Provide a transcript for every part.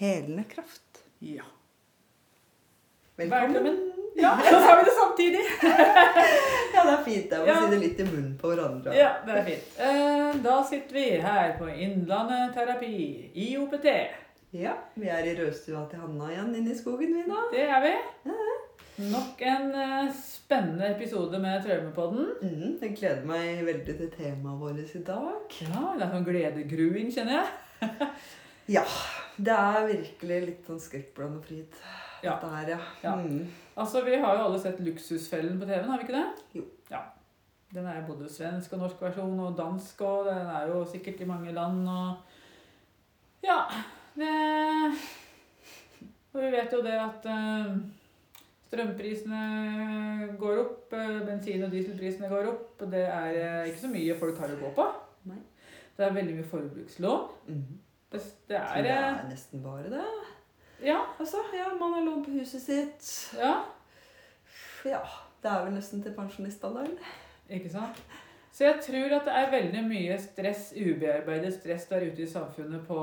helende kraft. Ja. Velkommen. Ja, så sa vi det samtidig. Ja, det er fint. Jeg må Ja. si det litt i munnen på hverandre. Ja, det er fint. Eh, Da sitter vi her på Innlandet terapi, IOPT. Ja, vi er i rødstua til Hanna igjen inne i skogen vi nå. Det er vi. Nok en eh, spennende episode med Traumepodden. Mm, jeg gleder meg veldig til temaet vårt i dag. Ja, det er sånn gledegruing, kjenner jeg. Ja, det er virkelig litt sånn skrekkblandet fryd. Ja. Dette her, ja. Ja. Mm. Altså, Vi har jo alle sett Luksusfellen på TV-en, har vi ikke det? Jo. Ja. Den er jo både svensk og norsk versjon og dansk, og den er jo sikkert i mange land og Ja. Det Og vi vet jo det at eh, strømprisene går opp, eh, bensin- og dieselprisene går opp, og det er eh, ikke så mye folk har å gå på. Nei. Det er veldig mye forbrukslån. Mm. Det, det Så er det eh, er nesten bare det. Ja. Altså, ja, man har lånt huset sitt. ja. Ja, det er vel nesten til pensjonistalderen. Ikke sant? Så jeg tror at det er veldig mye stress, ubearbeidet stress der ute i samfunnet på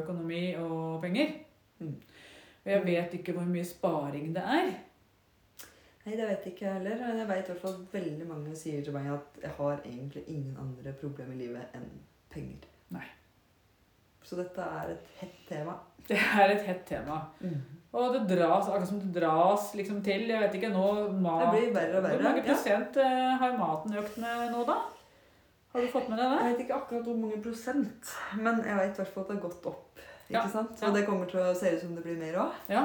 økonomi og penger. Mm. Og jeg vet ikke hvor mye sparing det er. Nei, det vet jeg ikke jeg heller. Men jeg vet i hvert fall at veldig mange sier til meg at jeg har egentlig ingen andre problemer i livet enn penger. Nei. Så dette er et hett tema. Det er et hett tema. Og det dras, akkurat som det dras liksom til. Jeg vet ikke nå mat, Det blir verre og verre, Hvor mange ja. prosent eh, har maten økt med nå, da? Har du fått med deg det? Jeg vet ikke akkurat hvor mange prosent, men jeg vet i hvert fall at det har gått opp. Ikke Ja, sant? Så ja. det kommer til å se ut som det blir mer òg. Ja.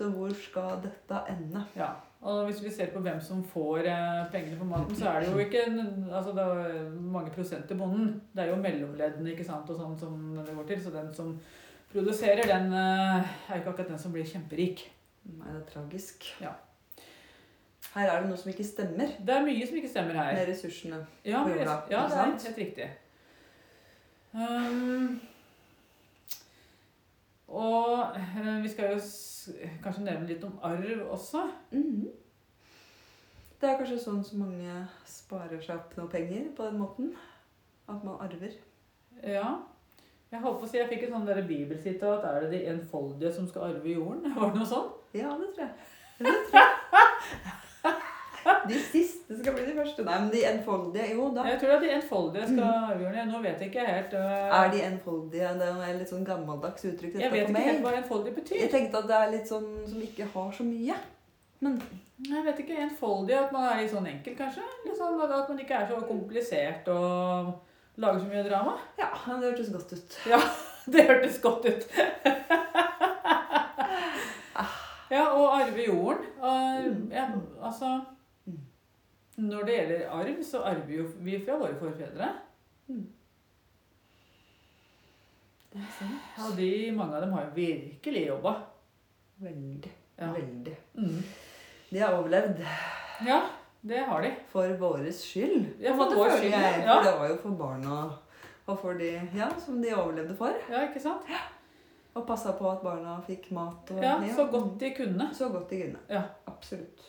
Så hvor skal dette ende? Ja, og hvis vi ser på hvem som får eh, pengene for maten, så er det jo ikke en- altså det er mange prosent til bonden. Det er jo mellomleddene ikke sant, og sånn som det går til. Så den som produserer, den eh, er jo ikke akkurat den som blir kjemperik. Nei, det Mm, er tragisk. Ja. Her er det noe som ikke stemmer Det er mye som ikke stemmer her. med ressursene. Ja, på men- jorda, ja ikke det er sant? helt riktig. Ehm, og eh, vi skal jo s kanskje nevne litt om arv også. Mhm. Det er kanskje sånn som mange sparer seg opp noe penger på den måten. At man arver. Ja. Jeg holdt på å si, jeg fikk et sånt der bibelsitat Er det de enfoldige som skal arve jorden? Var det noe sånt? Ja, det tror jeg. Det tror jeg. De siste skal bli de første. Nei, men de enfoldige Jo da. Mm. Jeg tror at de enfoldige skal arve jorden. Jeg- Nå vet jeg ikke helt øh, Er de enfoldige? Det er et litt sånn gammeldags uttrykk. dette Jeg vet for ikke meg. helt hva enfoldig Jeg betyr. tenkte at det er litt sånn som ikke har så mye. Men Jeg vet ikke enfoldig, At man er litt sånn enkel, kanskje? Litt sånn, at- at man ikke er så komplisert og lager så mye drama. ja, det hørtes godt ut. Det hørtes godt ut. ja, og arve jorden. Mm. Og, ja, altså Når det gjelder arv, så arver jo vi fra våre forfedre. Det er sant. Ja, de, mange av dem har jo virkelig jobba. Veldig. Ja. Veldig. Mm. De har overlevd ja, det har de. for våres skyld. Ja, for på en måte, vår føler skyld, Jeg, ja. For det var jo for barna og for de ja, som de overlevde for. Ja, ikke sant? Og passa på at barna fikk mat og Ja, Så godt de kunne. Så godt de kunne. Ja. Absolutt.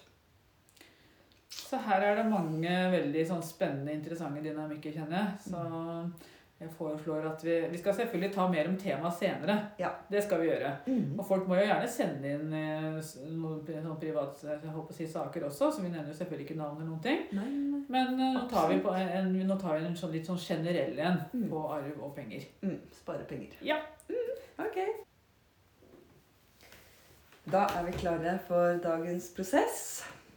Så her er det mange veldig sånn spennende, interessante dynamikker, kjenner jeg. Så jeg foreslår at vi Vi skal selvfølgelig ta mer om temaet senere. Ja. Det skal vi gjøre. Mm. Og folk må jo gjerne sende inn eh, s- noen pri- sånn private jeg håper å si, saker også, så vi nevner jo selvfølgelig ikke navn eller noen ting. Nei, nei. Men eh, nå tar vi, på en, nå tar vi en sånn litt sånn generell en Mm. på arv og penger. Mm. Spare penger. Ja. Mm. Ok. Da er vi klare for dagens prosess.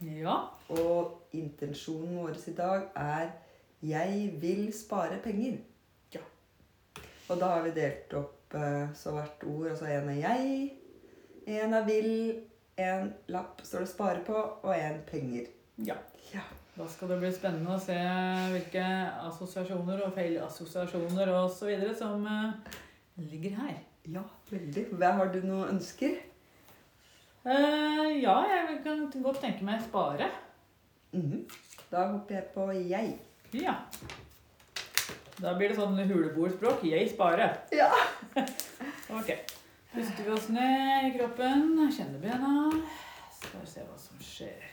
Ja. Og intensjonen vår i dag er 'Jeg vil spare penger'. Ja. Og da har vi delt opp eh, så hvert ord. Altså én er 'jeg', én er 'vil', én lapp står det 'spare' på, og én 'penger'. Ja. Ja. Da skal det bli spennende å se hvilke assosiasjoner og feilassosiasjoner osv. som eh, ligger her. Ja, veldig. Hva- Har du noen ønsker? Eh, ja, jeg kan godt tenke meg spare. Mhm. Da hopper jeg på 'jeg'. Ja. Da blir det sånn huleboerspråk. Jeg sparer. Ja. Ok. Puster vi oss ned i kroppen, kjenner bena. Skal vi se hva som skjer.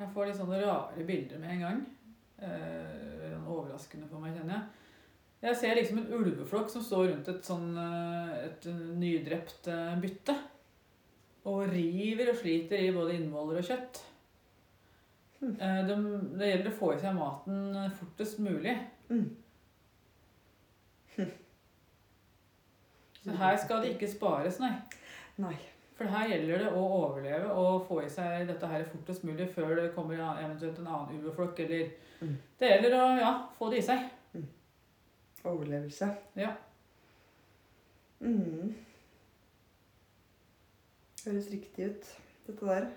Jeg får litt sånne rare bilder med en gang. Eh, overraskende for meg, kjenner jeg. Jeg ser liksom en ulveflokk som står rundt et sånn eh, et nydrept eh, bytte. Og river og sliter i både innvoller og kjøtt. Hmm. Eh, de, det gjelder å få i seg maten fortest mulig. Mm. Så her skal det ikke spares, nei. Nei. For her gjelder det å overleve og få i seg dette her fortest mulig før det kommer en- eventuelt en annen ulveflokk. Eller Mm. Det gjelder å ja, få det i seg. Overlevelse. Ja. Mhm. Høres riktig ut, dette der.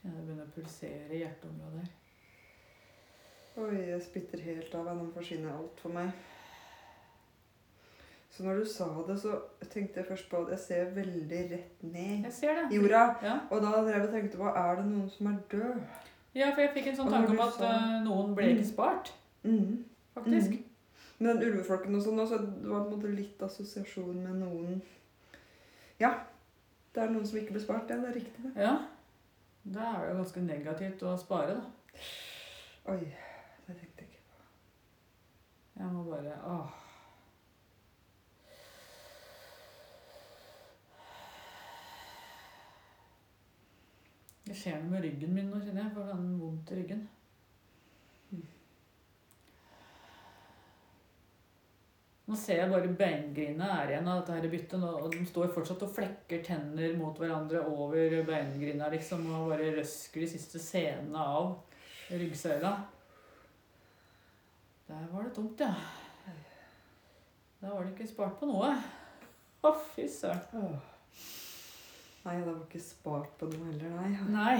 Kjenner det begynner å pulsere i hjerteområdet. her. Oi, jeg spytter helt av. Nå forsvinner alt for meg. Så når du sa det, så tenkte jeg først på at jeg ser veldig rett ned Jeg ser i det. jorda. Ja. Og da drev jeg og tenkte på er det noen som er død. ja, for jeg fikk en sånn Og når tanke om du at sa- eh, noen ble ikke spart, Mhm. faktisk. Mhm. Men den ulveflokken og sånn, også, det var på en måte litt assosiasjon med noen Ja. Det er noen som ikke ble spart. Ja, det er riktig, det. Ja. Da er det jo ganske negativt å spare, da. Oi, det tenkte jeg ikke. Jeg må bare åh. Jeg ser noe med ryggen min nå, kjenner jeg. For den vondt i ryggen. Nå ser jeg bare beingrinene er igjen av dette her byttet. nå, Og de står fortsatt og flekker tenner mot hverandre over beingrina liksom, og bare røsker de siste scenene av ryggsøyla. Der var det tomt, ja. Der var det ikke spart på noe. Å, fy søren. Åh. Nei, det var ikke spart på noe heller, nei. Nei.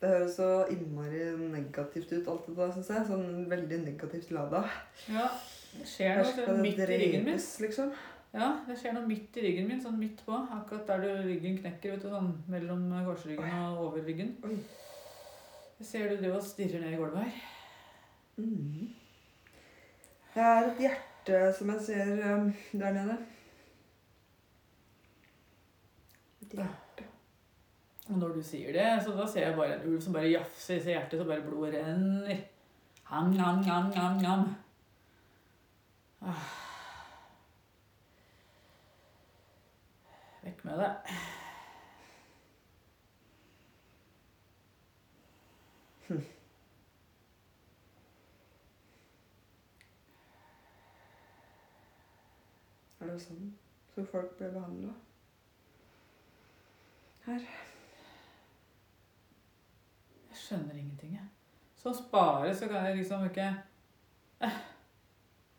Det høres så innmari negativt ut, alt det der, syns jeg. Sånn veldig negativt lada. Ja, det skjer noe sånn midt i ryggen min. liksom. Ja, det skjer noe midt i ryggen min, sånn midt på. Akkurat der du ryggen knekker, vet du, sånn mellom korsryggen og overryggen. Oi. Jeg ser du driver og stirrer ned i gulvet her. Mhm. Det er Mm. et hjerte som jeg ser um, der nede. Et hjerte. Og når du sier det, så da ser jeg bare en ulv som bare jafser i seg hjertet, så bare blodet renner. Ham, ham, ham, ham, ham. Ah. Vekk med det. Er det sånn så folk ble behandla? Jeg skjønner ingenting, jeg. Som sparer så kan jeg liksom ikke Eh.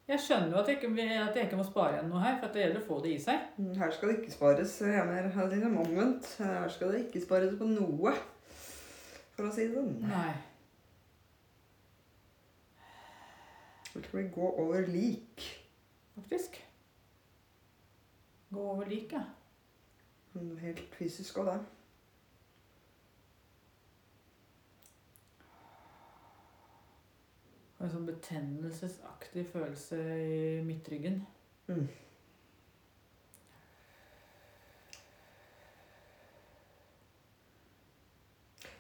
Jeg skjønner jo at jeg ikke, at jeg ikke må spare igjen noe her, for at det gjelder å få det i seg. Mm, Her skal det ikke spares. Jeg mener, her er det liksom omvendt. Her skal det ikke spares på noe, for å si det sånn. Nei. Det skal vi gå over lik. Faktisk. Gå over lik, ja. Sånn Helt fysisk òg, da. Og en sånn betennelsesaktig følelse i midtryggen. Mm.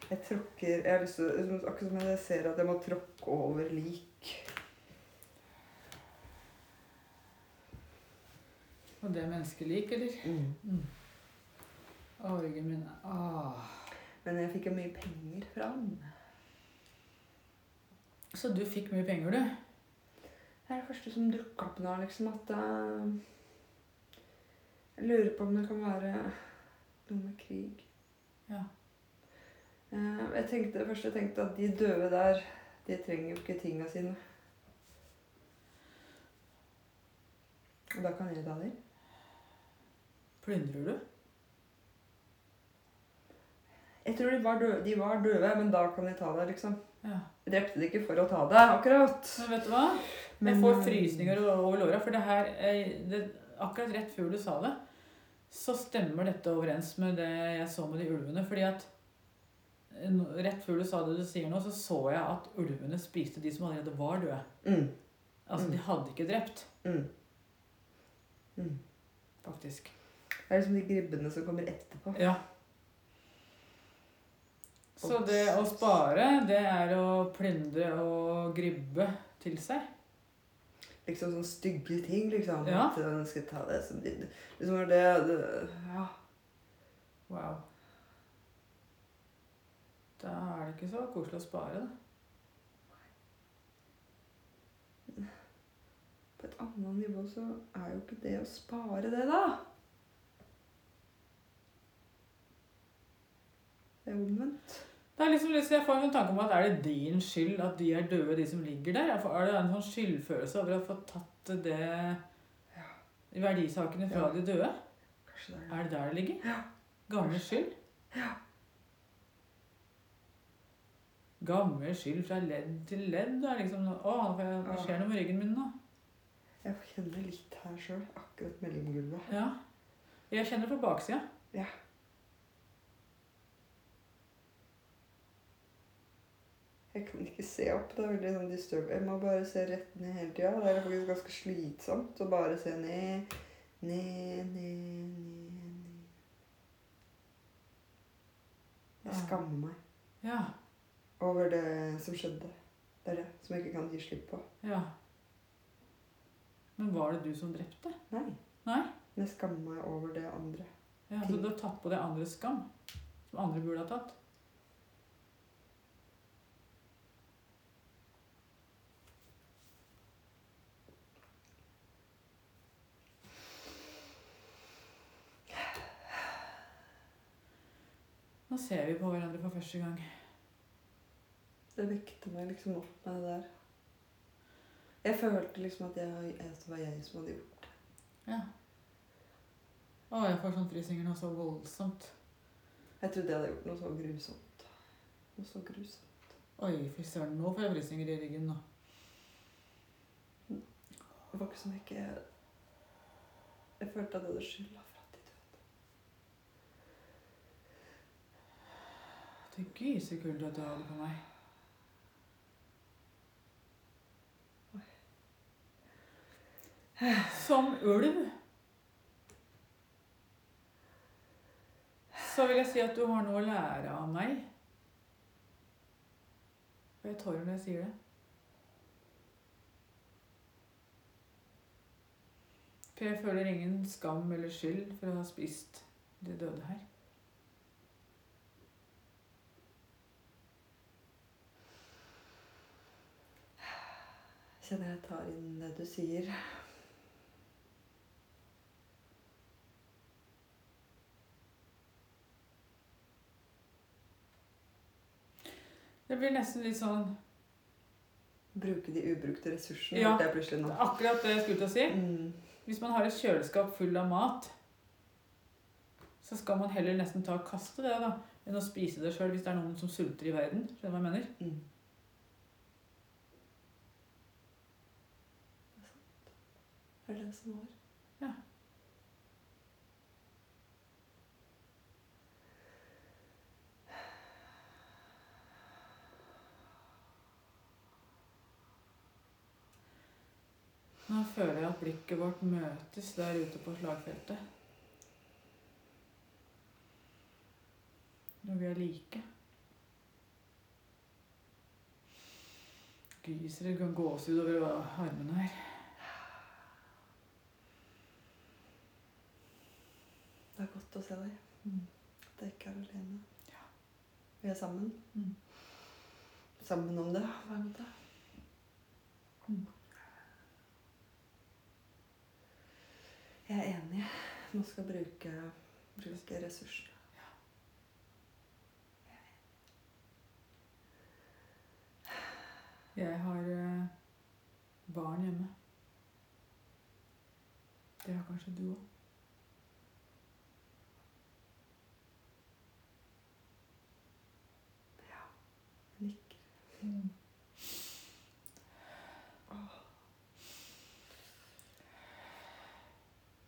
Jeg tråkker jeg har lyst til, å- liksom, Akkurat som jeg ser at jeg må tråkke over lik. Og det er menneskelik, eller? Mm. Orgen min ah. Men jeg fikk jo mye penger fra han. Så du fikk mye penger, du? Det er det første som dukka opp nå, liksom, at eh, Jeg lurer på om det kan være noe med krig. Ja. Eh, jeg tenkte, først jeg tenkte at de døde der, de trenger jo ikke tinga sine. Og da kan jeg ta dem. Plyndrer du? Jeg tror de var døde, de var døde men da kan jeg ta det, liksom. Ja. Jeg drepte det ikke for å ta det, akkurat. Men vet du hva? Jeg eh, får frysninger over over låra, for det her eh, det, Akkurat rett før du sa det, så stemmer dette overens med det jeg så med de ulvene. Fordi at eh, nå- Rett før du sa det du sier nå, så så jeg at ulvene spiste de som allerede var døde. Mm. Altså, Mm. de hadde ikke drept, Mm. Mm. faktisk. Det er liksom de gribbene som kommer etterpå. Ja. Så det å spare, det er å plyndre og gribbe til seg. liksom sånne stygge ting, liksom. Ja. At den skal ta det som din. Liksom var det, det Ja. Wow. Da er det ikke så koselig å spare, da. På et annet nivå så er jo ikke det å spare det, da. Det er omvendt. Det er liksom, liksom- jeg får en sånn tanke om at er det din skyld at de er døde, de som ligger der? Jeg får- Er det en sånn skyldfølelse over å få tatt det i verdisakene fra Ja. de døde? Kanskje det er det. Er det der det ligger? Ja. Gammel skyld? Gammel skyld fra ledd til ledd. Det er liksom Å, nå får jeg- det skjer noe med ryggen min nå. Jeg kjenner litt her sjøl, akkurat mellom gulvet. Ja. Jeg kjenner på baksida. Ja. Jeg kan ikke se opp. Det er veldig sånn disturb. Jeg må bare se rett ned hele tida. Det er faktisk ganske slitsomt å bare se ned, ned, ned, ned. ned. Jeg Ja. skammer meg Ja. over det som skjedde. Det er det som jeg ikke kan gi slipp på. Ja. Men var det du som drepte? Nei. Nei? Men jeg skammer meg over det andre. Ja, så du har tatt på deg andres skam? Som andre burde ha tatt? Nå ser vi på hverandre for første gang. Det vekte meg liksom opp med det der. Jeg følte liksom at, jeg, at det var jeg som hadde gjort det. Ja. Å, jeg får sånn frysninger nå, så voldsomt. Jeg trodde jeg hadde gjort noe så grusomt. Noe så grusomt. Oi, fy søren, nå får jeg frysninger i ryggen nå. Det var ikke som ikke Jeg følte at jeg hadde skylda for at de døde. Det er gysekulde at du hadde på meg. Som ulv så vil jeg si at du har noe å lære av meg. Og jeg tårer når jeg sier det. For jeg føler ingen skam eller skyld for å ha spist de døde her. Jeg Kjenner jeg tar inn det du sier. Det blir nesten litt sånn Bruke de ubrukte ressursene. Ja. følte jeg plutselig nå. Det er akkurat det jeg skulle til å si. Mm. Hvis man har et kjøleskap full av mat, så skal man heller nesten ta og kaste det da, enn å spise det sjøl hvis det er noen som sulter i verden. Skjønner du hva jeg mener? Mm. Det er sant. Det er det som var. Ja. Nå føler jeg at blikket vårt møtes der ute på slagfeltet. Når vi er like. Gyser det kan gåsehud over armene her. se deg. Mm. At jeg ikke er alene. Vi er sammen. Mm. Sammen om det. Hva er det? Mm. Jeg er enig. Man skal bruke, bruke ressursene. Jeg har eh, barn hjemme. Det har kanskje du òg. Nikker.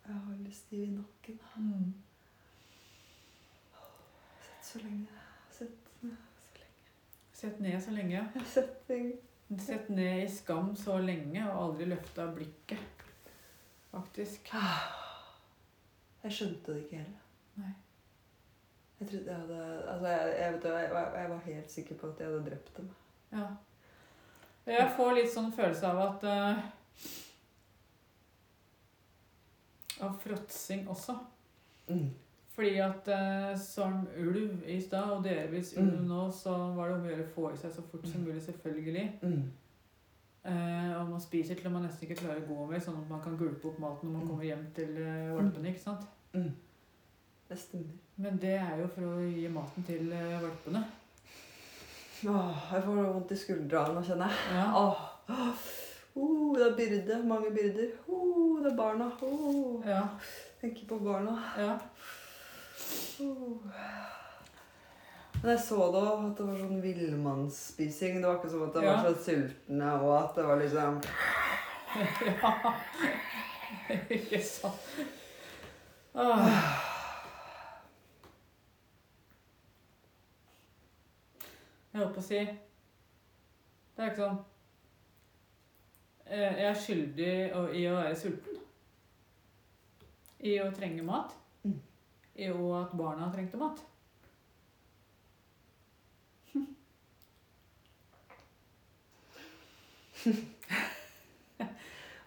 Jeg har litt stiv i nakken. Mm. Sett så lenge. Sett så lenge. Sett ned så lenge. Jeg har sett ting. Sett ned i skam så lenge og aldri løfta blikket. Faktisk. Jeg skjønte det ikke heller. Nei. Jeg trodde jeg hadde Altså, jeg, jeg vet du, jeg, var- jeg var helt sikker på at jeg hadde drept dem. Ja. Jeg får litt sånn følelse av at eh, Av fråtsing også. Mm. Fordi at eh, som ulv i stad, og delvis ulv Mm. nå, så var det om å gjøre å få i seg så fort som mulig, selvfølgelig. Mm. Eh, og man spiser til man nesten ikke klarer å gå mer, sånn at man kan gulpe opp maten når man Mm. kommer hjem til eh, valpene. ikke sant? Det stemmer. Men det er jo for å gi maten til eh, valpene. Åh, jeg får vondt i skuldra nå, kjenner jeg. Ja. Åh, åh. Oh, det er byrde. Mange byrder. Oh, det er barna. Oh, Ja, tenker på barna. ja. Oh. Men jeg så det også, at det var sånn villmannsspising. Det var ikke som at de var Ja. så sultne, og at det var liksom ja. ikke sant? Ah. Åh. Jeg holdt på å si Det er ikke sånn eh, Jeg er skyldig å- i å være sulten. I å trenge mat. Mm. I å at barna trengte mat.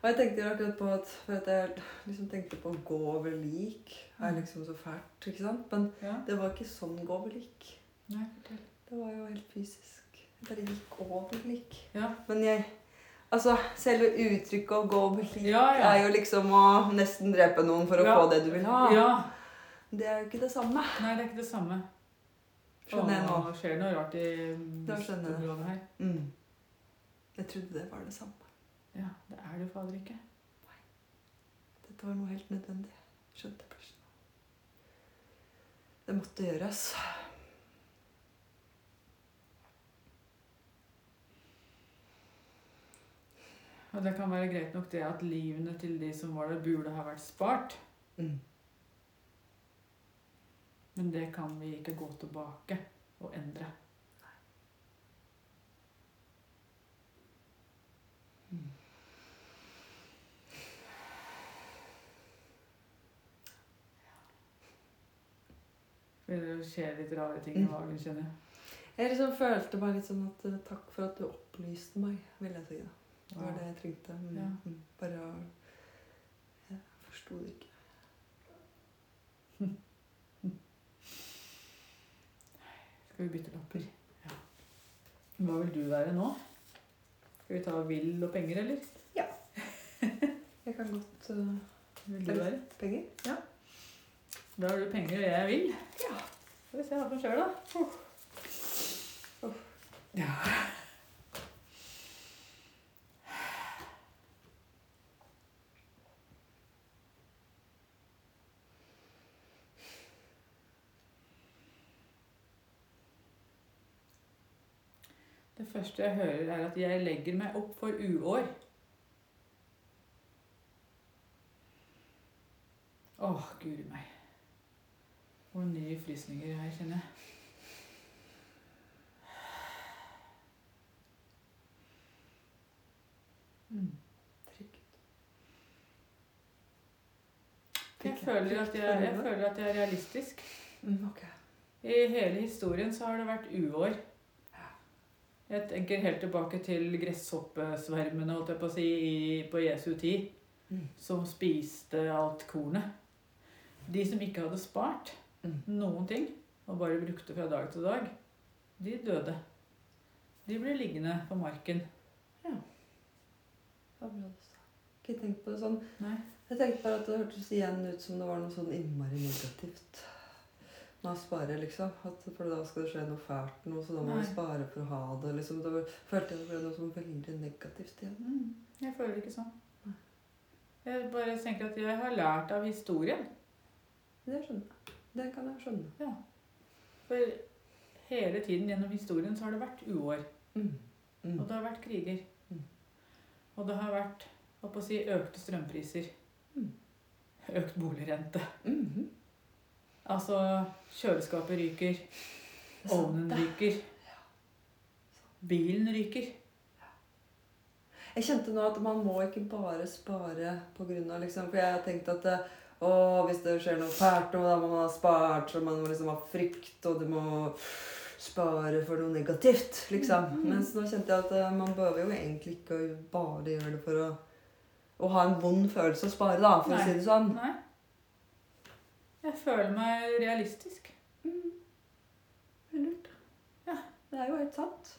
Og jeg tenkte akkurat på at for at jeg liksom tenkte på å gå over lik er liksom så fælt, ikke sant? Men Ja. det var ikke sånn gå over lik. Nei, fortell. Det var jo helt fysisk. Jeg bare gikk over lik. Ja. Men jeg Altså, selve uttrykket å gå over lik Ja, ja. er jo liksom å nesten drepe noen for å Ja. få det du vil ha. ja. Det er jo ikke det samme. Nei, det er ikke det samme. Skjønner jeg nå. Åh, skjer noe rart i Da skjønner jeg det. området her. Mm. Jeg trodde det var det samme. Ja, det er du fader ikke. Dette var noe helt nødvendig. Skjønte plutselig. Det måtte gjøres. Og det kan være greit nok det at livene til de som var der, burde ha vært spart. Mm. Men det kan vi ikke gå tilbake og endre. Det skjer litt rare ting i Mm. magen, kjenner jeg. Jeg liksom følte meg litt sånn at eh, takk for at du opplyste meg, vil jeg si. da. Det var Ja. det jeg trengte. Mm. Ja. Mm. Bare å- Jeg forsto det ikke. Skal vi bytte lapper? Ja. Hva vil du være nå? Skal vi ta vill og penger, eller? Jeg kan godt eh, Vil du være? penger. Da har du penger, og jeg er vill. Ja. Skal vi se hva som skjer, da. Ja. Det første jeg hører, er at jeg legger meg opp for uår. Åh, guri meg. Og nye frysninger her, kjenner jeg. Mm. Trygg. Jeg føler, at jeg, jeg føler at jeg er realistisk. mm, Ok. I hele historien så har det vært uår. Jeg tenker helt tilbake til gresshoppesvermene holdt jeg på, å si, i- på Jesu tid, Mm. som spiste alt kornet. De som ikke hadde spart, noen ting, og bare brukte fra dag til dag, de døde. De ble liggende på marken. Det var bra du sa. Ikke tenk på det sånn. Nei. Jeg tenkte bare at det hørtes igjen ut som det var noe sånn innmari negativt. Man sparer, liksom. At for da skal det skje noe fælt, noe, så da må man Nei. spare for å ha det. liksom. Det var, følte jeg det ble noe sånn veldig negativt igjen. Mm, jeg føler ikke sånn. Jeg bare tenker at jeg har lært av historien. Det skjønner jeg. Det kan jeg skjønne. For hele tiden gjennom historien så har det vært uår. Og det har vært kriger. Mm. Og det har vært hva på å si, økte strømpriser. Mm. Økt boligrente. Mhm. Altså kjøleskapet ryker. Ovnen ryker. Bilen ryker. Jeg kjente nå at man må ikke bare spare på grunn av liksom, For jeg har tenkt at eh, å, hvis det skjer noe fælt, og da må man ha spart, så man må liksom ha frykt, og du må spare for noe negativt, liksom. Mens nå kjente jeg at eh, man behøver jo egentlig ikke å bare gjøre det for å å ha en vond følelse å spare, da, for Nei. å si det sånn. Nei. Jeg føler meg realistisk. Lurt. Ja, det er jo helt sant.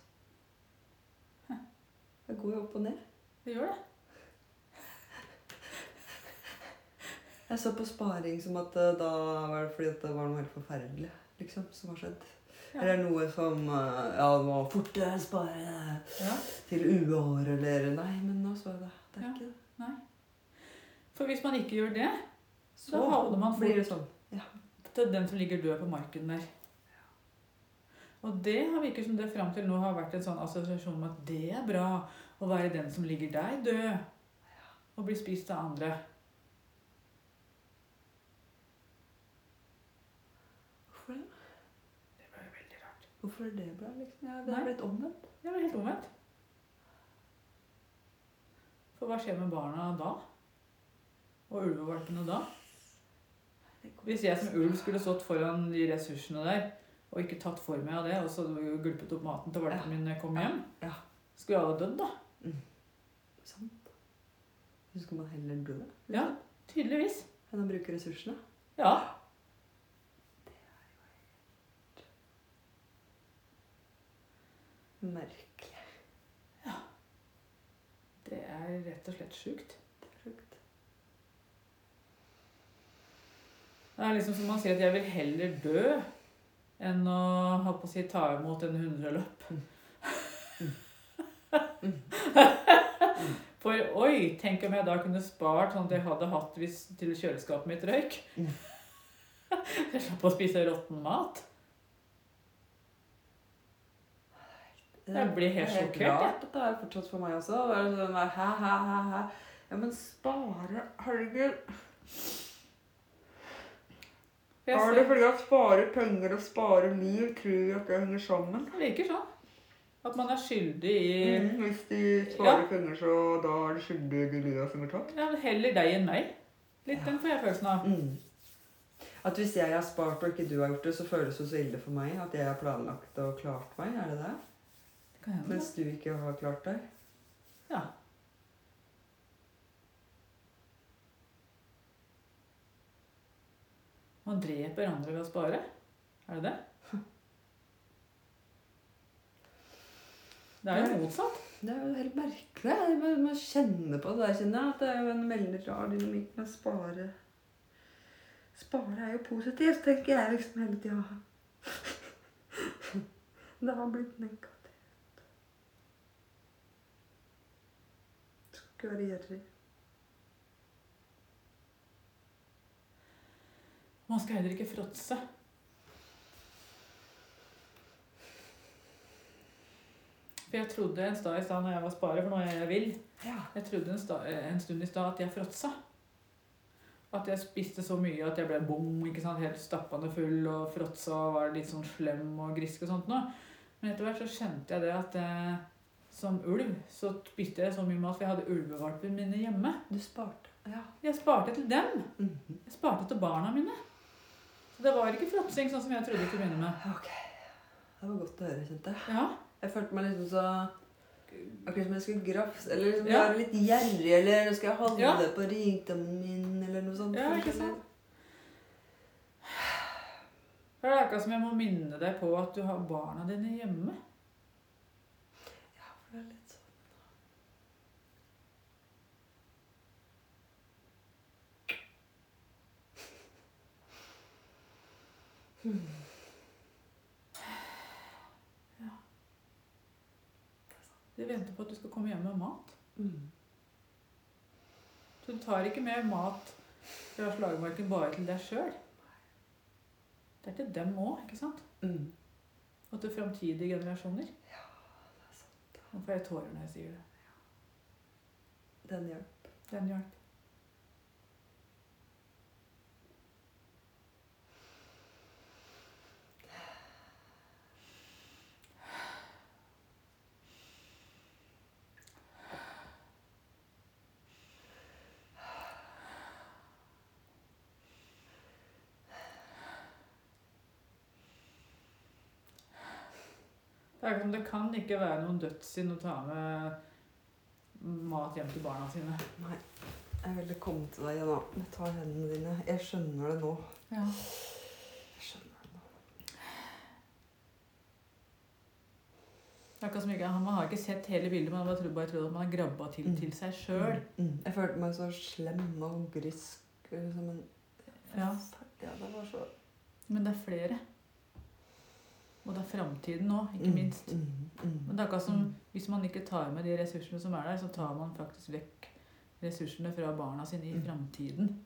Det går jo opp og ned. Det gjør det. Jeg så på sparing som at eh, da var det fordi at det var noe helt forferdelig liksom, som har skjedd. Ja. Eller noe som eh, Ja, det må fort eh, spare Ja. til uår eller Nei, men nå så jeg det. Det er Ja. ikke det. For hvis man ikke gjør det, Så Da havner man blir fort- det sånn. til den som ligger død på marken der. Og det har virket som det fram til nå har vært en sånn assosiasjon med at det er bra å være den som ligger der død og blir spist av andre. Hvorfor det? Det var jo veldig rart. Hvorfor er det bra, liksom? Ja, det Nei. er blitt omvendt. Det var helt omvendt. For hva skjer med barna da? Og ulvevalpene da? Det går- Hvis jeg som ulv skulle stått foran de ressursene der og ikke tatt for meg av det, og så gulpet opp maten til valpen min når jeg kom hjem, Ja. skulle jeg ha dødd da? Sant. Så skal man heller dø Ja, tydeligvis. enn å bruke ressursene. Ja. Merkelig. Det er rett og slett sjukt. Frukt. Det er liksom som man sier at jeg vil heller dø enn å ha på å si, ta imot en hundrelapp. Mm. For oi, tenk om jeg da kunne spart sånn at jeg hadde hatt hvis til kjøleskapet mitt røyk. Mm. Jeg slapp å spise råtten mat. Det Jeg blir helt det er sjokkert, jeg. rart at det er fortsatt for meg også. Det er sånn, der, hæ, hæ, hæ, hæ. Ja, men spare, herregud. Jeg Er det ser- fordi at spare penger og spare liv tror at det henger sammen? Det virker sånn. At man er skyldig i Mm, hvis de sparer penger, så da er det skyldig de livet som er tatt? ja, Heller deg enn meg. Litt den får jeg følelsen Mm. av. At hvis jeg har spart og ikke du har gjort det, så føles det så ille for meg at jeg har planlagt og klart meg, er det det? Det kan hende. Mens du ikke har klart deg. Ja. Man dreper andre ved å spare? Er det det? Det er jo motsatt. Det er jo helt merkelig. Jeg må, må kjenne på det. der, kjenner jeg at det er jo en veldig rar dynamikk med å spare. Spare er jo positivt, tenker jeg liksom hele tida. Det har blitt negativt. Skal ikke være gjerrig. Man skal heller ikke fråtse. For jeg trodde en stad i stad når jeg var sparer, for nå er jeg vill Ja. Jeg trodde en, sta, en stund i stad at jeg fråtsa. At jeg spiste så mye at jeg ble bom, ikke sant? helt stappende full og fråtsa og var litt sånn slem og grisk og sånt noe. Men etter hvert så kjente jeg det at eh, som ulv så spiste jeg så mye mat, for jeg hadde ulvevalpene mine hjemme. Du sparte. Ja. Jeg sparte til dem. Mhm. Jeg sparte til barna mine. Så det var ikke fråtsing sånn som jeg trodde til å begynne med. Ok. Det var godt å høre, kjente jeg. Ja, Jeg følte meg liksom så Akkurat som jeg skulle grafse, eller liksom Ja. være litt gjerrig, eller nå skal jeg holde Ja. på rikdommen min, eller noe sånt. ja ikke sant? For det er akkurat som jeg må minne deg på at du har barna dine hjemme. Ja, for det er litt sånn De venter på at du skal komme hjem med mat. Mm, Så du tar ikke med mat fra slagmarken bare til deg sjøl. Det er til dem òg, ikke sant? mm. Og til framtidige generasjoner. Det er sant. Nå får jeg tårer når jeg sier det. Den hjelper. Den hjelp. Det er som det kan ikke være noen dødssynd å ta med mat hjem til barna sine. Nei. Jeg ville komme til deg igjen, da. Jeg tar hendene dine. Jeg skjønner det nå. Ja. Jeg skjønner det nå. Det er akkurat som ikke, han- man har ikke sett hele bildet, men man har bare trodd, bare trodd at man har grabba til Mm. til seg sjøl. Mm. Jeg følte meg så slem og grisk. Liksom en Ja. ja, det var så Men det er flere. Og det er framtiden nå, ikke Mm, minst. Mm, mm, Men det er akkurat som Mm. hvis man ikke tar med de ressursene som er der, så tar man faktisk vekk ressursene fra barna sine i Mm. framtiden.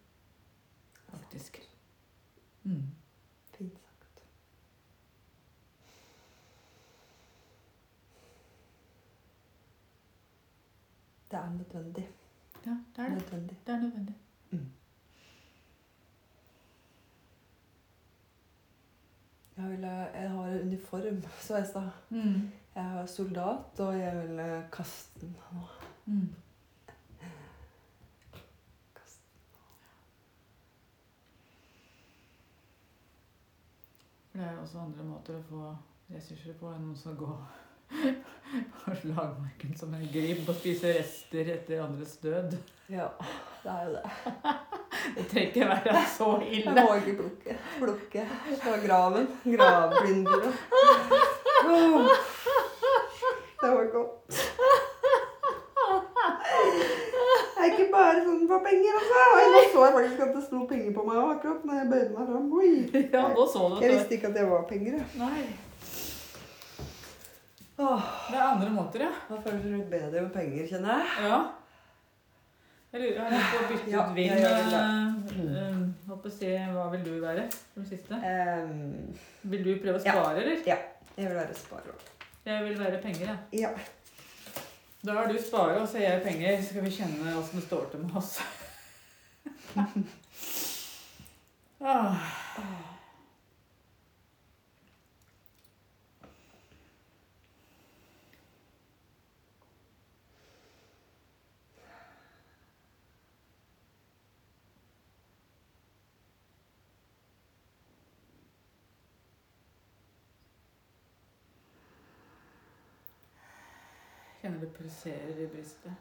Faktisk. Mm. Fint sagt. Det er nødvendig. Ja, det er det. Nødvendig. Det er nødvendig. Jeg, vil, eh, jeg har en uniform, så jeg sa. Mm. Jeg har soldat, og jeg vil eh, kaste den nå. Mm. Kaste den. For det er jo også andre måter å få ressurser på enn å gå på slagmarken som en gribb og spise rester etter andres død. Ja, det er jo det. Det trenger ikke være så Jeg ille. må ikke plukke. Plukke fra graven. Gravplyndre. Åh. Det var godt. Det er ikke bare sånn for penger, altså. Og nå så jeg faktisk at det sto penger på meg også, akkurat når jeg bøyde meg fram. Oi. Ja, nå så du Jeg det. visste ikke at det var penger. jeg. Nei. Åh, Det er andre måter, ja. Da føles det litt bedre med penger, kjenner jeg. ja. Jeg lurer, jeg har lyst til å bytte Ja, ut jeg Vinn. gjør eh, eh, Håper å se hva vil du være som siste. Ehm, Vil du prøve å Ja. spare, eller? jeg vil være sparer. Jeg vil være penger, jeg. Ja. Da har du spare, og så er jeg penger. Så skal vi kjenne åssen det står til med oss. ah. Kjenner det pulserer i brystet.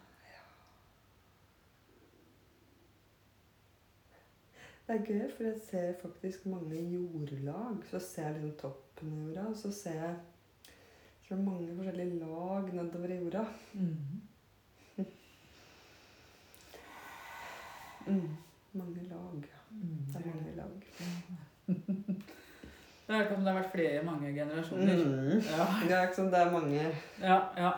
Det er gøy, for jeg ser faktisk mange jordlag. Så ser jeg liksom toppen av jorda, og så ser jeg så er det mange forskjellige lag nedover i jorda. Mhm. Mm. Mange lag. Mhm. Det er mange lag. Det er akkurat som det har vært flere mange generasjoner. Ja, Det er ikke sånn det er mange ja, ja.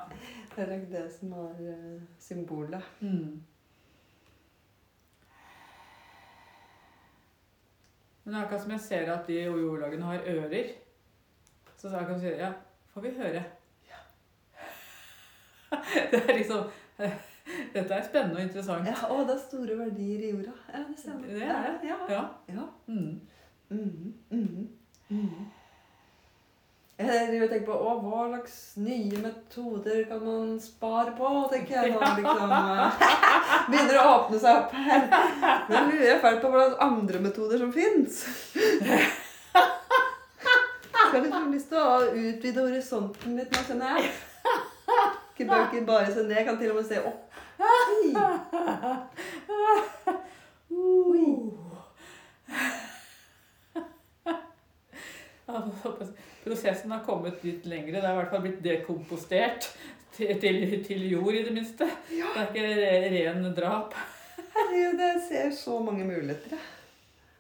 Det er nok det som er eh, symbolet. Mm. Men det er akkurat som jeg ser at de jordlagene har ører. Så det er akkurat som jeg sier, ja, får vi høre. det er liksom Dette er spennende og interessant. Ja, å, det er store verdier i jorda. Ja, det ser man. Det er Ja. Ja. ja. Mm. Mhm, mhm, mhm. Jeg driver og tenker på å, hva slags nye metoder kan man spare på, tenker jeg nå. liksom. eh, Begynner å åpne seg opp her. Nå lurer jeg fælt på hvordan andre metoder som fins. Jeg har liksom lyst til å utvide horisonten litt nå, skjønner jeg. Ikke bør ikke bare se ned, jeg kan til og med se opp. Oi. Uh. altså, prosessen har kommet litt lengre. Det er i hvert fall blitt dekompostert til, til, til jord, i det minste. Ja. Det er ikke re- ren drap. Herregud, jeg ser så mange muligheter, jeg.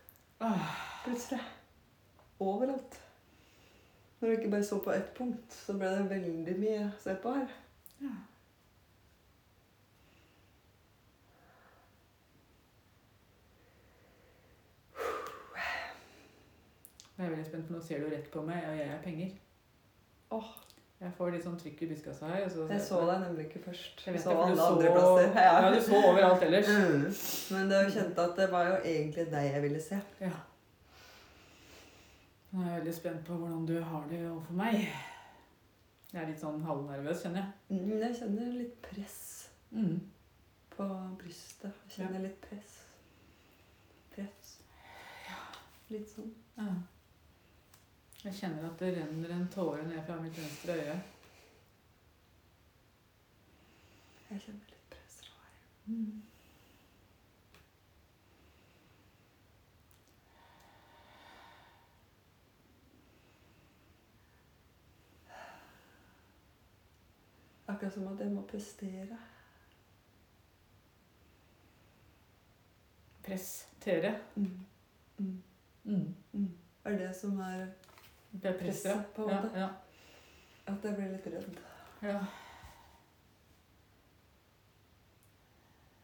Åh, Plutselig. Overalt. Når du ikke bare så på ett punkt, så ble det veldig mye å se på her. Ja. Jeg er veldig spent, for nå ser du rett på meg, og jeg er penger. Åh, Jeg får litt sånn trykk i byskassa her. og så- jeg så deg nemlig ikke først. Jeg vet så det, for du alle så- andre plasser. Ja. du så overalt ellers. Mm. Men det kjente at det var jo egentlig deg jeg ville se. Ja. Nå er jeg veldig spent på hvordan du har det overfor meg. Jeg er litt sånn halvnervøs, kjenner jeg. Mm, Jeg kjenner litt press Mm. på brystet. Jeg kjenner litt press. Press. Litt sånn. Ja. Jeg kjenner at det renner en tåre ned fra mitt venstre øye. Jeg kjenner litt press fra her. Mm. Akkurat som at jeg må prestere. Press tere. Mm. Mm. Mm. Er det som er Det er press, ja. Presset, på en Ja, måte. ja. At jeg blir litt redd. Ja.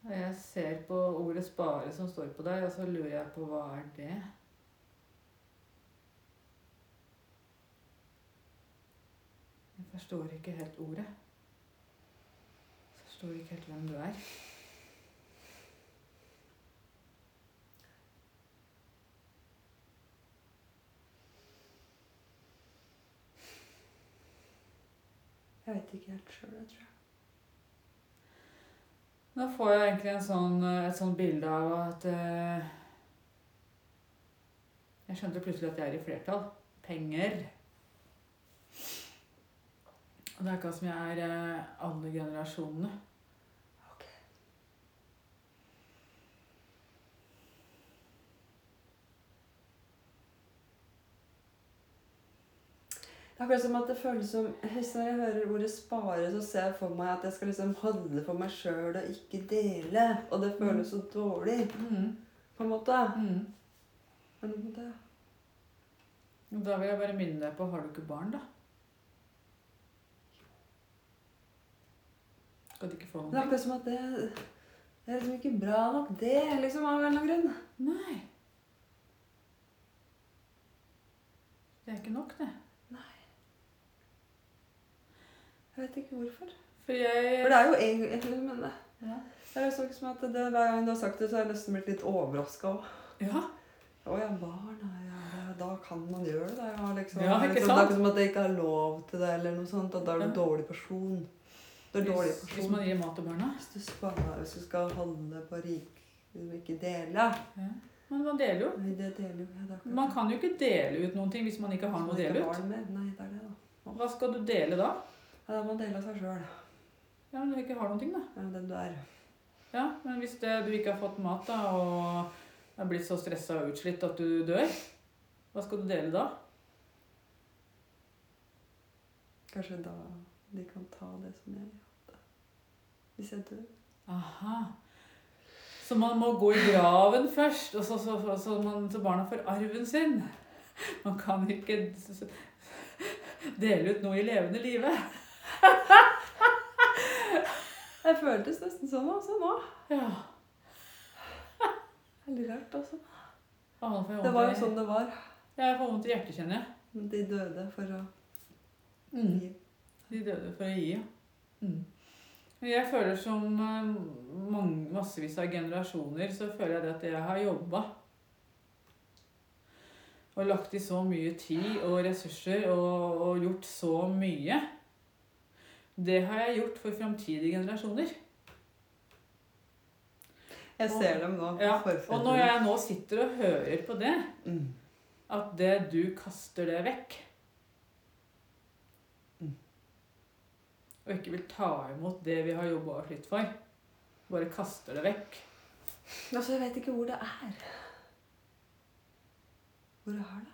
Og Jeg ser på ordet 'spare' som står på der, og så lurer jeg på hva er det? Jeg forstår ikke helt ordet. Jeg forstår ikke helt hvem du er. Jeg vet ikke helt sjøl, jeg tror jeg. Nå får jeg egentlig en sånn, et sånt bilde av at eh, Jeg skjønte plutselig at jeg er i flertall. Penger. Og det er akkurat som jeg er eh, alle generasjonene. Ok. Det er akkurat som at det føles som hvis Når jeg hører ordet 'spare', så ser jeg for meg at jeg skal liksom holde for meg sjøl og ikke dele. Og det føles så dårlig, Mm, på en måte. mm. Men det, Og Da vil jeg bare minne deg på Har du ikke barn, da? Skal du ikke få det noen er ting? akkurat som at det, det er liksom ikke bra nok, det, liksom, av en eller annen grunn. Nei. Det er ikke nok, det. Jeg vet ikke hvorfor. For jeg For det er jo egentlig men det, Ja. det er jo sånn som at det, Hver gang du har sagt det, så har jeg nesten blitt litt overraska òg. ja. Å ja, barn ja, ja, ja, Da kan man gjøre det. Ja, liksom. Ja, ikke liksom, det er sant? ikke som at det ikke er lov til det, eller noe sånt. At da er du en Ja. dårlig person. Du er en dårlig Hvis, hvis person. man gir mat til barna. Hvis du, sparer, hvis du skal handle på rik liksom ikke dele Ja. Men man deler jo. Nei, det deler jo ja, det er akkurat Man det. kan jo ikke dele ut noen ting hvis man ikke har Hvis noe man å dele ikke ut. har det Mer. Nei, det er det, da. Hva skal du dele da? Ja, da må man dele av seg sjøl. Ja, men du ikke har noen ting, da. Ja, den du er. Ja, men hvis det, du ikke har fått mat da, og er blitt så stressa og utslitt at du dør, hva skal du dele da? Kanskje da de kan ta det som jeg hadde. Hvis jeg dør. Aha. Så man må gå i graven først, og så, så, så, så, man, så barna får arven sin. Man kan ikke s- s- dele ut noe i levende live. Det føltes nesten sånn altså, nå. Ja. Veldig rart, altså. Å, nå får jeg Det var jo vondt i- sånn det var. Jeg får vondt i hjertet, kjenner jeg. De døde for å Mm. gi. De døde for å gi, ja. Mm. Men Jeg føler som eh, mange, massevis av generasjoner, så føler jeg det at jeg har jobba. Og lagt i så mye tid og ressurser og, og gjort så mye. Det har jeg gjort for framtidige generasjoner. Jeg Og- ser dem nå. Ja, forfedrene. Og når jeg nå sitter og hører på det, Mm. at det du kaster det vekk Mm. Og ikke vil ta imot det vi har jobba og slitt for. Bare kaster det vekk. Altså, jeg vet ikke hvor det er. Hvor er det?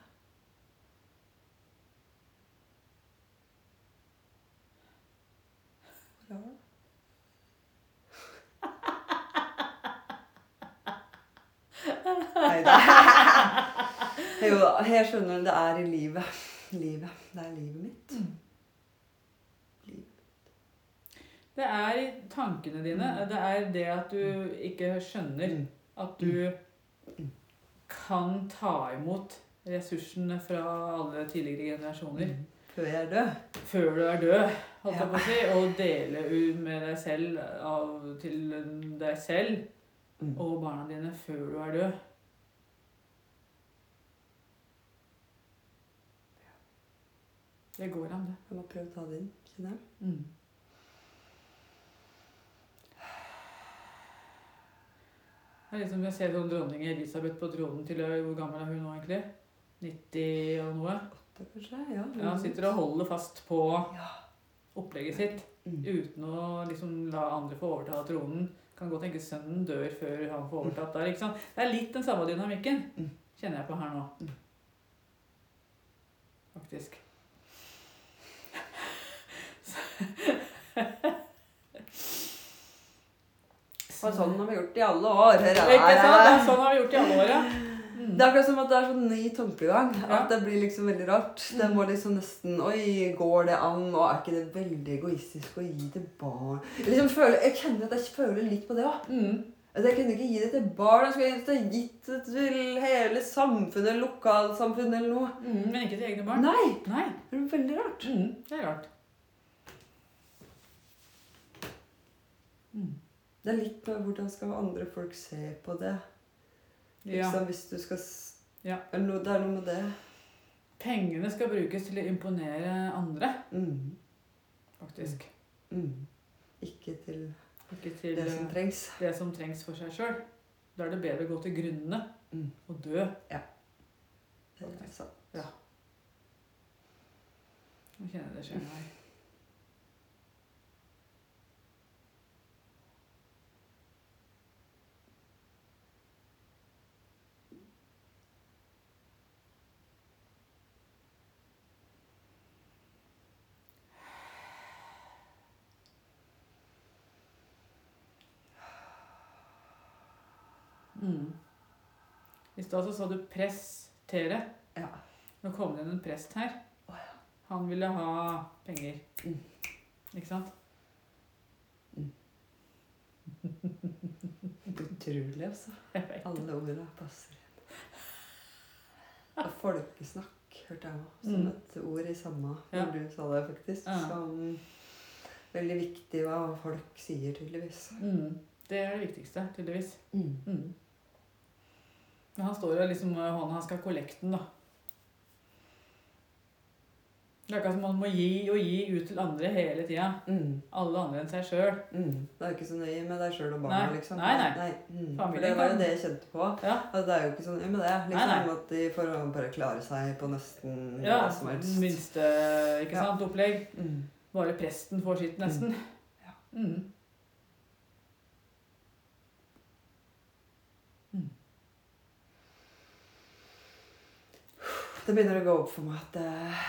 Nei da. Jo da, jeg skjønner det er i livet. Livet. Det er livet mitt. Det er tankene dine. Det er det at du ikke skjønner Mm. at du kan ta imot ressursene fra alle tidligere Mm. generasjoner Før jeg er død. før du er død, holdt jeg Ja. på å si, og dele ut med deg selv av, til deg selv Mm. og barna dine før du er død. Det går an, det. Jeg må prøve å ta det inn, kjenner jeg. Mm. Det er liksom Jeg ser sånn dronning Elisabeth på tronen til eh, Hvor gammel er hun nå, egentlig? 90 og noe? Åtte, kanskje? Ja. Ja, sitter og holder fast på Ja. opplegget sitt Mm. uten å liksom la andre få overta tronen. Kan godt tenke sønnen dør før han får overtatt der. ikke sant? Det er litt den samme dynamikken, Mm. kjenner jeg på her nå. Faktisk. Og sånn har vi gjort det i alle år. Her Ikke er sant? Det er jeg. sånn har vi gjort i alle åra. Det er akkurat som at det er sånn ny tankegang. Ja. At det blir liksom veldig rart. Det må liksom nesten Oi, går det an? Og er ikke det veldig egoistisk å gi til barn? Jeg, liksom føler, jeg kjenner at jeg føler litt på det òg. Mm. At jeg kunne ikke gi det til barn. Jeg skulle egentlig ha gitt det til hele samfunnet, lokalsamfunnet eller noe. Mm, men ikke til egne barn. Nei! Nei. Det er veldig rart. Mm, det er rart. Det er litt med hvordan skal andre folk se på det. Ja. Liksom hvis du skal s- Ja. eller noe, Det er noe med det. Pengene skal brukes til å imponere andre, Mm. faktisk. Mm. Ikke til Ikke til det som eh, trengs. det som trengs for seg sjøl. Da er det bedre å gå til grunnene Mm. og dø. Det er altså sant. Nå kjenner jeg det skjer meg. Mm. I stad så sa du 'press Tere'. Ja. Nå kom det inn en prest her. Å, Han ville ha penger. Mm. Ikke sant? Utrolig, altså. Jeg vet. Alle ordene passer igjen. Og folkesnakk hørte jeg òg som Mm. et ord i samme Ja. når du sa det, faktisk. Ja. Som veldig viktig hva folk sier, tydeligvis. Mm. Det er det viktigste, tydeligvis. Mm. Mm. Men han står jo liksom med hånda Han skal ha kollekten, da. Det er akkurat som man må gi og gi ut til andre hele tida. Mm. Alle andre enn seg sjøl. Mm. Det er jo ikke så nøye med deg sjøl og barna, Nei. liksom. Nei, nei. Familien Mm. For det var kan- jo det jeg kjente på. Ja. At det er jo ikke så nøye med det. Liksom Nei, nei. At de får bare klare seg på nesten ja. hva som helst. Minste ikke Ja. sant, opplegg. Mm. Bare presten får sitt, nesten. Ja. Mm. Det begynner å gå opp for meg at eh,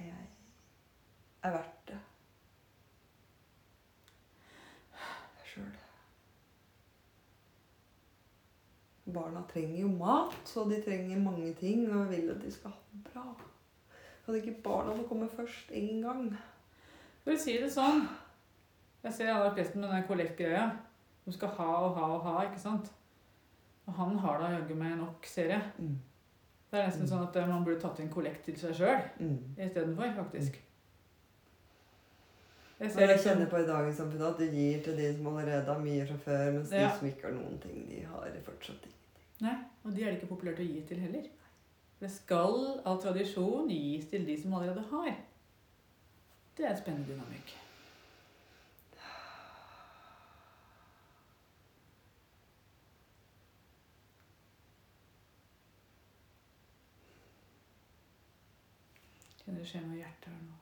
Jeg er verdt det. Jeg sjøl. Barna trenger jo mat, og de trenger mange ting. Og jeg vil at de skal ha det bra. Kan ikke barna få komme først en gang? For å si det sånn Jeg ser alle presten med den kollektgreia. De skal ha og ha og ha, ikke sant? Og han har da jaggu meg nok, ser jeg. Mm. Det er nesten Mm. sånn at eh, man burde tatt inn kollekt til seg sjøl Mm. istedenfor, faktisk. Jeg Men ser Mm. jeg liksom kjenner på i dagens samfunn at du gir til de som allerede har mye fra før, mens Ja. de som ikke har noen ting, de har fortsatt ikke. Nei, og de er det ikke populært å gi til heller. Det skal av tradisjon gis til de som allerede har. Det er en spennende dynamikk. Kjenner det skjer noe i hjertet her nå.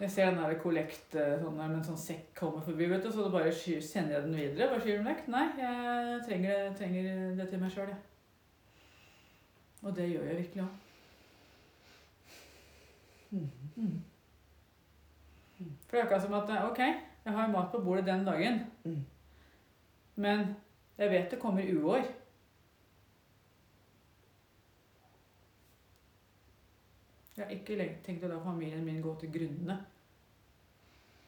Jeg ser den der kollekt eh, sånn der, med en sånn sekk kommer forbi, vet du, så da bare sky- sender jeg den videre. Bare skyver den vekk. Nei, jeg trenger, det- trenger eh, det til meg sjøl, jeg. Og det gjør jeg virkelig òg. Mm. For det er akkurat som at eh, ok, jeg har mat på bordet den dagen, Mm. men jeg vet det kommer uår. Jeg har ikke le- tenkt å la familien min gå til grunnene.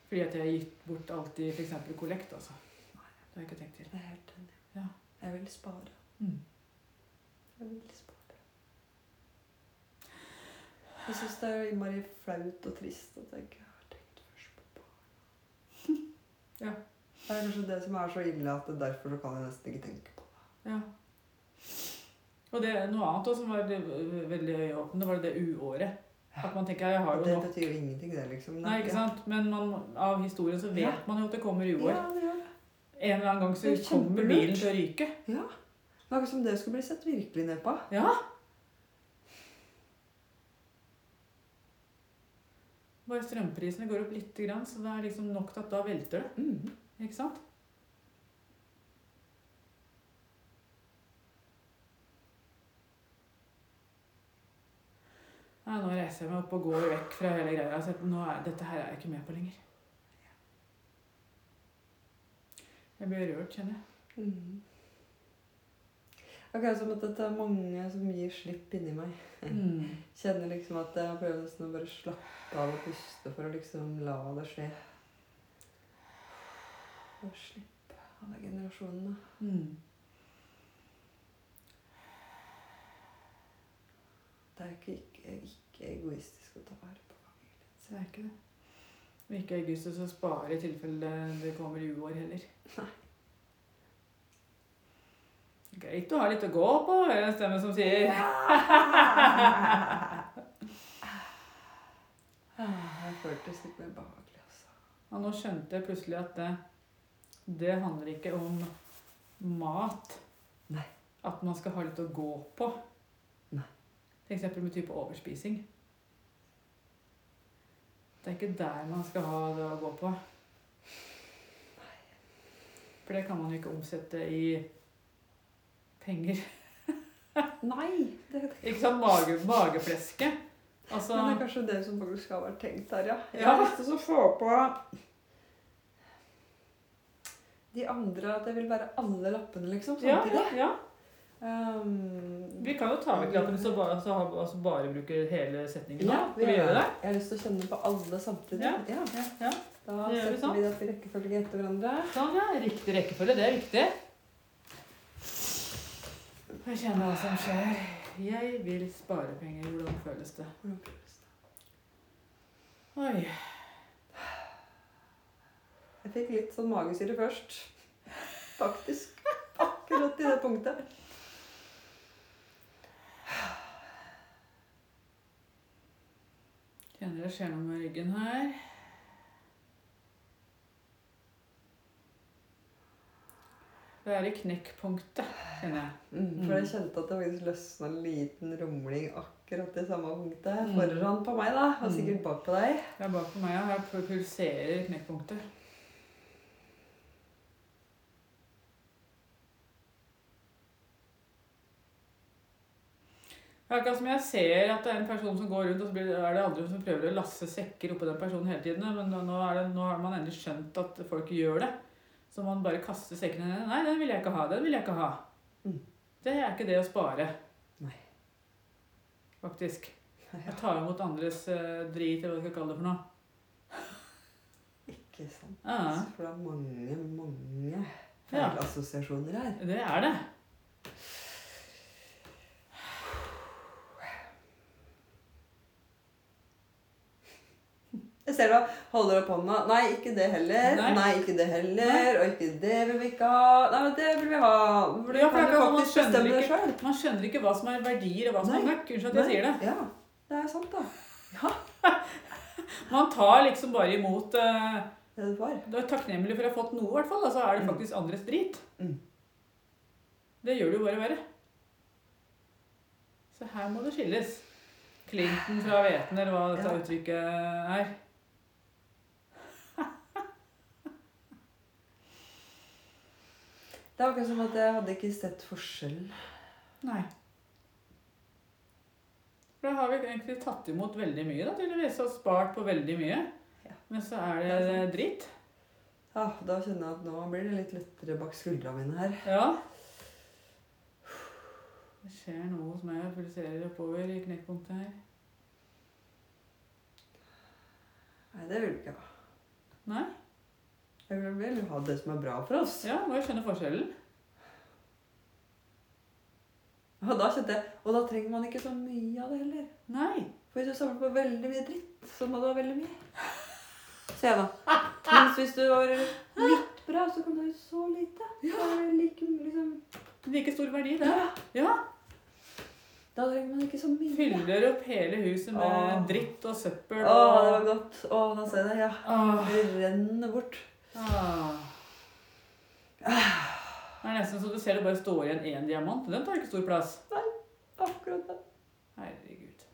Fordi at jeg har gitt bort alt i f.eks. kollekt. altså. Det har jeg ikke tenkt til. Jeg er helt enig. Ja. Jeg vil spare. Mm. Jeg vil spare. Jeg syns det er innmari flaut og trist at jeg ikke har tenkt først på barna. Ja. Det er kanskje det som er så ille, at det er derfor så kan jeg nesten ikke tenke på det. Ja. Og det er noe annet også, som var ve- veldig øyeåpnende, var det det uåret. At man tenker jeg har Og jo det nok. betyr jo ingenting, det, liksom. Nei, ikke sant? Men man, av historien så vet Ja. man jo at det kommer Ja, uår. det gjør det. En eller annen gang så Det er kommer kjempelurt. bilen til å ryke. Det var ikke som det skulle bli sett virkelig ned på. Bare strømprisene går opp litt, grann, så det er liksom nok til at da velter det. Mhm. Ikke sant? Nei, nå reiser jeg meg opp og går vekk fra hele greia. Så nå er, dette her er jeg ikke med på lenger. Jeg blir rørt, kjenner jeg. Mhm. Akkurat som at det er mange som gir slipp inni meg. Mm. Kjenner liksom at jeg prøver nesten å bare slappe av og puste for å liksom la det skje. Og slippe alle generasjonene. Mm. Det er ikke, ikke, ikke egoistisk å ta vare på familien Så sin. det er ikke det. Og ikke augustus å spare i tilfelle det kommer uår heller. Nei. Greit å ha litt å gå på, er det en stemme som sier. Ah, Jeg føltes litt mer behagelig, altså. Og nå skjønte jeg plutselig at det, det handler ikke om mat. Nei. At man skal ha litt å gå på. Nei. For eksempel med type overspising. Det er ikke der man skal ha det å gå på. For det kan man jo ikke omsette i penger. Nei! Det, Ikke sant? Mage, magefleske. Altså, Men det er kanskje det som faktisk har vært tenkt her, ja. Jeg Ja. har lyst til å få på de andre At jeg vil være alle lappene, liksom, ja, samtidig. ja, ja. Um, Vi kan jo ta vekk lappen så bare, så ha, altså bare bruke hele setningen. ja, nå. vi Skal vi gjør gjøre det. det? Jeg har lyst til å kjenne på alle samtidig. Ja. Ja. Ja, ja. Da Det gjør vi setter sånn. vi det opp i rekkefølge etter hverandre. Sånn, ja. Riktig rekkefølge, det er viktig. Få kjenne hva som skjer. Jeg vil spare penger. Hvordan føles det? Hvordan føles det? Oi. Jeg fikk litt sånn magesyre først. Faktisk. Akkurat i det punktet. Kjenner det skjer noe med ryggen her. Det er i knekkpunktet, kjenner jeg. Mm, for jeg kjente at det faktisk løsna en liten rumling akkurat i samme punktet. Mm-hmm. Foran på meg, da. Og sikkert bak på deg. Det er bak på meg. ja. Her pul- pulserer knekkpunktet. Det er akkurat som jeg ser at det er en person som går rundt, og så blir det- er det andre som prøver å lasse sekker oppå den personen hele tiden. Men nå, nå, er det, nå har man endelig skjønt at folk gjør det. Så man bare kaster sekkene ned. Nei, den vil jeg ikke ha. Den vil jeg ikke ha. Mm. Det er ikke det å spare. Nei. Faktisk. Jeg tar imot andres eh, drit, eller hva jeg skal kalle det for noe. Ikke sant. Ja, For det er mange, mange Ja. feilassosiasjoner her. det er det. Jeg ser du holder opp hånda. Nei, ikke det heller. Nei. Nei, ikke det heller. Og ikke det vil vi ikke ha. Nei, men det vil vi ha. For Ja, ja, for det kan er du sånn, man faktisk skjønner bestemme det ikke- sjøl. Man skjønner ikke hva som er verdier og hva som er Nei. møkk. Unnskyld at jeg sier det. Ja, det er sant, da. Man tar liksom bare imot eh, Det er det var. Du er takknemlig for å ha fått noe, i hvert fall. Og så er det Mm. faktisk andres drit. Mm. Det gjør det jo bare verre. Så her må det skilles. Clinton fra Veten, eller hva dette Ja. uttrykket er. Det er akkurat som at jeg hadde ikke sett forskjellen. Nei. For da har vi egentlig tatt imot veldig mye, da, tydeligvis, og spart på veldig mye. Ja. Men så er det dritt. Ja, Ah, da kjenner jeg at nå blir det litt lettere bak skuldrene mine her. Ja. Det skjer noe hos meg. Jeg pulserer oppover i knekkpunktet her. Nei, det vil du ikke ha. Nei? Jeg vil vel ha det som er bra for oss. Ja, må jeg skjønne forskjellen. Og da kjente jeg, og da trenger man ikke så mye av det heller. Nei. For hvis du samler på veldig mye dritt, så må du ha veldig mye. Se da. Mens hvis du har litt bra, så kan du ha så lite. Da, er det like, liksom, Like stor verdi, det. Ja. da trenger man ikke så mye. Fyller opp hele huset med Åh. dritt og søppel. Å, det var Og... godt. Å, nå ser jeg det. Ja. Åh. Det renner bort. Ah. Det er nesten så du ser det bare står igjen én diamant. Den tar ikke stor plass. Akkurat det. Herregud.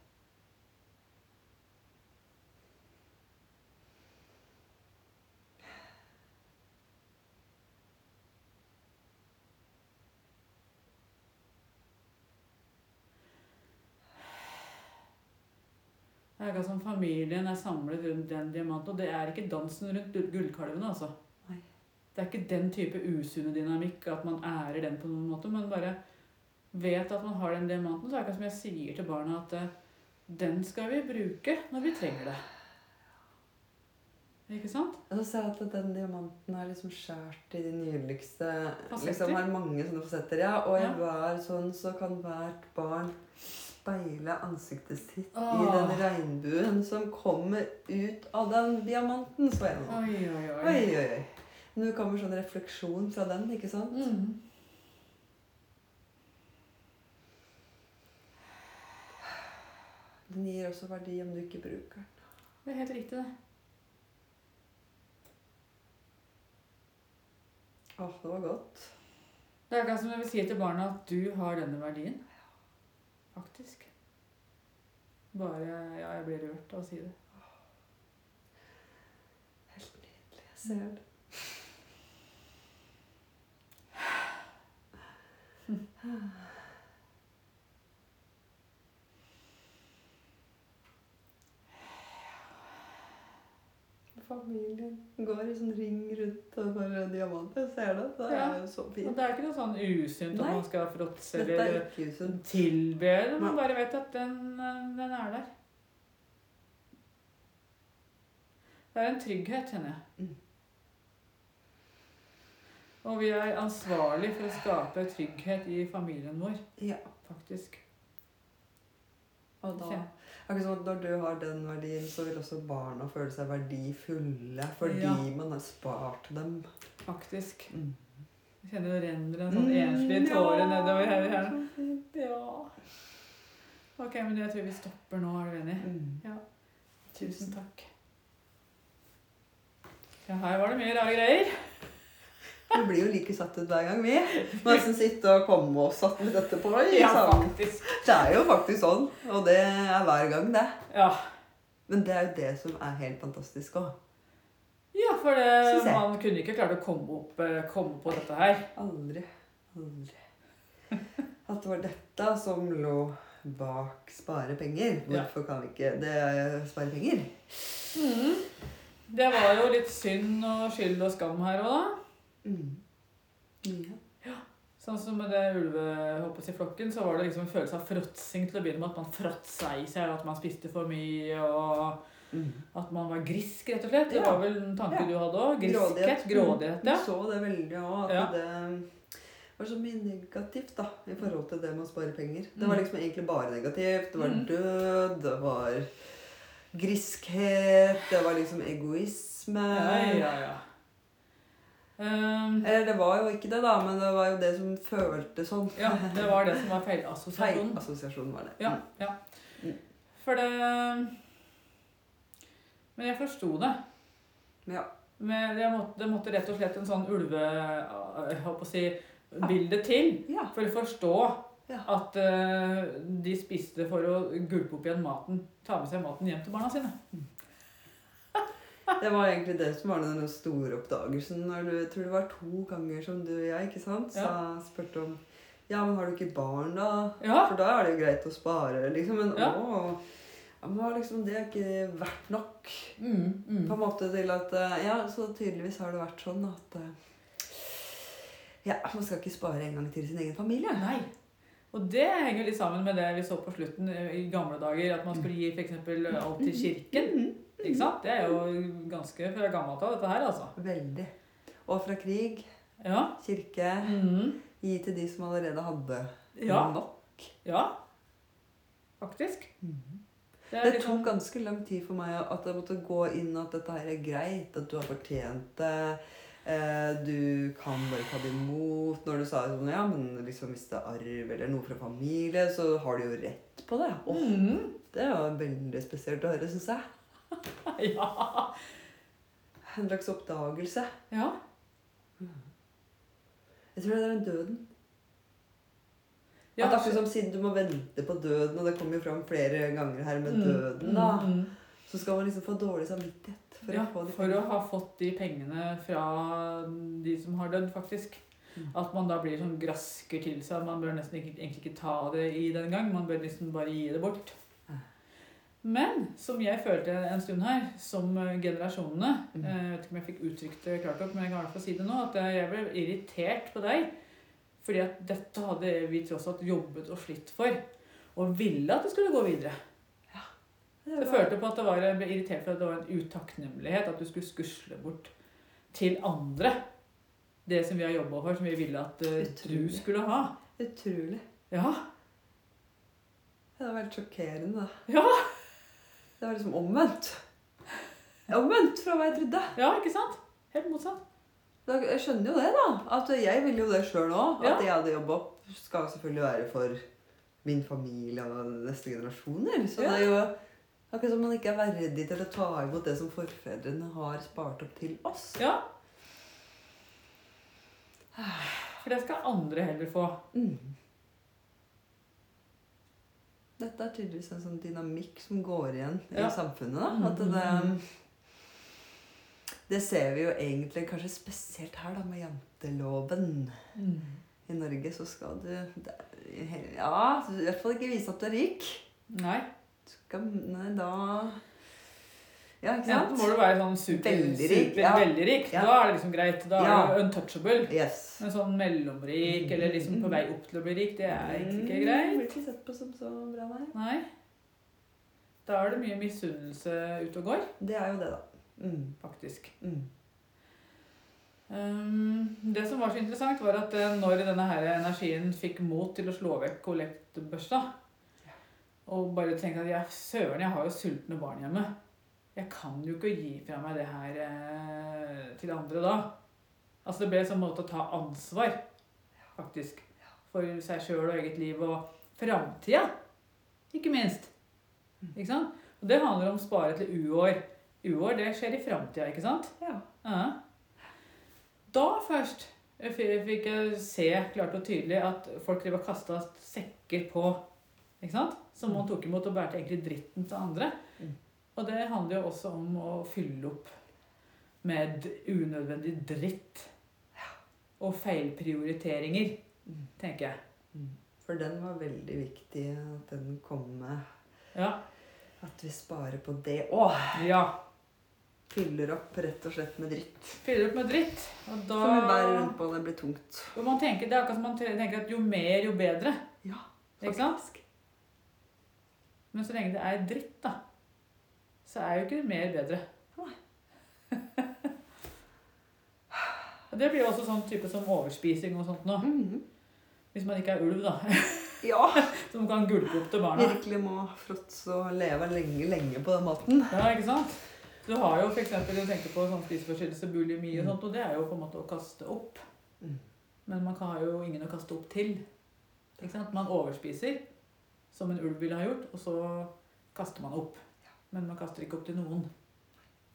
Det er akkurat som familien er samlet rundt den diamanten, og det er ikke dansen rundt gull- gullkalven, altså. Nei. Det er ikke den type usunne dynamikk at man ærer den på noen måte, men bare vet at man har den diamanten, så er det akkurat som jeg sier til barna at eh, den skal vi bruke når vi trenger det. Ikke sant? Og så ser jeg at den diamanten er liksom skjært i de nydeligste Fasetter. Liksom er mange sånne fasetter, ja. Og i Ja. hver sånn så kan hvert barn speile ansiktet sitt i Åh. den regnbuen som kommer ut av den diamanten. Så er det noe. Oi, oi, oi. Oi, oi, oi. Nå kommer sånn refleksjon fra den, ikke sant? Mm. Den gir også verdi om du ikke bruker den. Det er helt riktig, det. Åh, det var godt. Det er akkurat som jeg vil si til barna at du har denne verdien. Faktisk. Bare Ja, jeg blir rørt av å si det. Helt nydelig. Jeg ser det. Familien går i sånn ring rundt og bare diamanter. Jeg ser det. Det er Ja. jo så Og fint. det er ikke noe sånn usunt Nei. at man skal fråtse Dette er eller ikke usunt. tilbe. Man bare vet at den, den er der. Det er en trygghet, kjenner jeg. Mm. Og vi er ansvarlig for å skape trygghet i familien vår, Ja. faktisk. Og da, Kjenn. akkurat som at når du har den verdien, så vil også barna føle seg verdifulle fordi Ja. man har spart dem. Faktisk. Mm. Jeg kjenner det renner en sånn enslig tåre nedover her. her. Ja. Ok, men jeg tror vi stopper nå, er du enig? Mm. Tusen takk. Ja, her var det mye rare greier. Vi blir jo like satt ut hver gang, vi. Må nesten sitte og komme oss satt litt etterpå. i Ja, sammen. faktisk. Det er jo faktisk sånn, og det er hver gang, det. Ja, Men det er jo det som er helt fantastisk òg. ja for Synes det, jeg. man kunne ikke klart å komme, opp, eh, komme på dette her. Aldri, aldri At det var dette som lå bak spare penger. Ja. Hvorfor kan vi ikke det er spare penger? Mm. Det var jo litt synd og skyld og skam her òg, da. Mm. Mm. Ja. Sånn som med det ulvehoppet i flokken, så var det liksom en følelse av fråtsing til å begynne med. At man fråtsa i seg, og at man spiste for mye, og Mm. at man var grisk, rett og slett. Det Ja. var vel en tanke Ja. du hadde òg? Griskhet? Grådighet. Mm. Grådighet, ja. Du så det veldig òg, at Ja. det var så mye negativt da, i forhold til det med å spare penger. Det var liksom egentlig bare negativt. Det var Mm. død, det var griskhet, det var liksom egoisme. Ja, ja, ja. Ehm, Eller det var jo ikke det, da, men det var jo det som føltes sånn. ja, det var det som var Feil feilassosiasjonen. assosiasjon var det. Ja, Mm. ja. Mm. For det Men jeg forsto det. Ja. Men det måtte, det måtte rett og slett en sånn ulve... Jeg holdt på å si bilde til. ja. For å forstå Ja. at eh, de spiste for å gulpe opp igjen maten. Ta med seg maten hjem til barna sine. Det var egentlig det som var den store oppdagelsen. Når du, jeg tror det var to ganger som du og jeg ikke sant, sa, spurte om Ja, men har du ikke barn, da? Ja, For da er det jo greit å spare, liksom. Men Ja. å, Ja, men har liksom det ikke vært nok? Mm, På mm. en måte til at eh, Ja, så tydeligvis har det vært sånn at eh, Ja, man skal ikke spare en gang til sin egen familie. Nei. Og det henger litt sammen med det vi så på slutten eh, i gamle dager, at man skulle gi f.eks. alt til Mm, kirken. Ikke sant? Det er jo ganske fra gammelt av, dette her, altså. Veldig. Og fra krig, Ja. kirke Mm. Gi til de som allerede hadde Ja. nok. ja. Faktisk. Det er Mm. Det litt tok sånn- ganske lang tid for meg at jeg måtte gå inn at dette her er greit, at du har fortjent det. eh, Du kan bare ta det imot. Når du sa sånn, ja, men liksom hvis det er arv eller noe fra familie, så har du jo rett på det. Åh, Mm. det var veldig spesielt å høre, syns jeg. Ja. En slags oppdagelse. ja. Jeg tror det er den døden. ja. at akkurat som siden du må vente på døden, og det kommer jo fram flere ganger her med Mm, døden, da, mm, mm. så skal man liksom få dårlig samvittighet for ja, å få de for å pengene. ha fått de pengene fra de som har dødd, faktisk. Mm. At man da blir sånn grasker til seg. Man bør nesten ikke, egentlig ikke ta det i den gang. Man bør liksom bare gi det bort. Ja. Men som jeg følte en stund her, som eh, generasjonene Mm. eh, Jeg vet ikke om jeg fikk uttrykt det klart nok, men jeg kan i hvert fall si det nå. At jeg ble irritert på deg. Fordi at dette hadde vi tross alt jobbet og slitt for. Og ville at det skulle gå videre. Det Jeg var- følte på at det var, jeg ble irritert for at det var en utakknemlighet at du skulle skusle bort til andre det som vi har jobba for, som vi ville at eh, du Utrolig. skulle ha. Utrolig. Ja. Ja, Det var helt sjokkerende, da. Ja. Det var liksom omvendt. Omvendt fra hva jeg trodde. ja, ikke sant? Helt motsatt. Da- Jeg skjønner jo det, da. At jeg ville jo det sjøl òg. Ja. At det jeg hadde jobba opp, skal selvfølgelig være for min familie og neste generasjoner. Så Ja. det er jo akkurat som man ikke er verdig til å ta imot det som forfedrene har spart opp til oss. Ja. For det skal andre heller få. Mm. Dette er tydeligvis en sånn dynamikk som går igjen Ja. Mm. i samfunnet. da. At det, det ser vi jo egentlig kanskje spesielt her da, med janteloven. I Norge så skal du det, er- Ja, i hvert fall ikke vise at du er rik. Nei. Du skal, nei, da Ja, ikke Enten må sant? du være sånn super, Veldig super, rik, ja. veldig rik. Ja. Da er det liksom greit. Da Ja. er du untouchable. Yes. Men sånn mellomrik, eller liksom på vei opp til å bli rik, det er egentlig ikke greit. Mm, Blir ikke sett på som så bra, nei. Nei. Da er det mye misunnelse ute og går, Det er jo det, da. Mm, faktisk. mm. Ehm, det som var så interessant, var at eh, når denne her energien fikk mot til å slå vekk kollektbørsa, og bare tenkte at jeg, søren, jeg har jo sultne barn hjemme. Jeg kan jo ikke gi fra meg det her eh, til andre da. Altså det ble en sånn måte å ta ansvar, faktisk. For seg sjøl og eget liv og framtida, ikke minst. Ikke sant? Og det handler om å spare til uår. Uår, det skjer i framtida, ikke sant? Ja. Ja. Da først f- fikk jeg se klart og tydelig at folk drev og kasta sekker på. Ikke sant? Som man tok imot og bærte egentlig dritten til andre. Mm. Og det handler jo også om å fylle opp med d- unødvendig dritt. Og feilprioriteringer, Mm. tenker jeg. For den var veldig viktig at den kom med. Ja. At vi sparer på det òg. ja. Fyller opp rett og slett med dritt. Fyller opp med dritt. Og da Som vi bærer rundt på. Det blir tungt. og man tenker, Det er akkurat som man tre- tenker at jo mer, jo bedre. Ja, Ikke sant? Men så lenge det er dritt, da, så er jo ikke det mer bedre. Nei. Og Det blir jo også sånn type som overspising og sånt nå. Mm. Mm. Hvis man ikke er ulv, da. Ja, Som kan gulpe opp til barna. virkelig må fråtse og leve lenge, lenge på den maten. Ja, ikke sant? Du har jo for eksempel, du tenker på sånn spiseforstyrrelse, bulimi og sånt, og det er jo på en måte å kaste opp. Mm. Men man har jo ingen å kaste opp til. Ikke sant? Man overspiser, som en ulv ville ha gjort, og så kaster man opp. Men man kaster ikke opp til noen.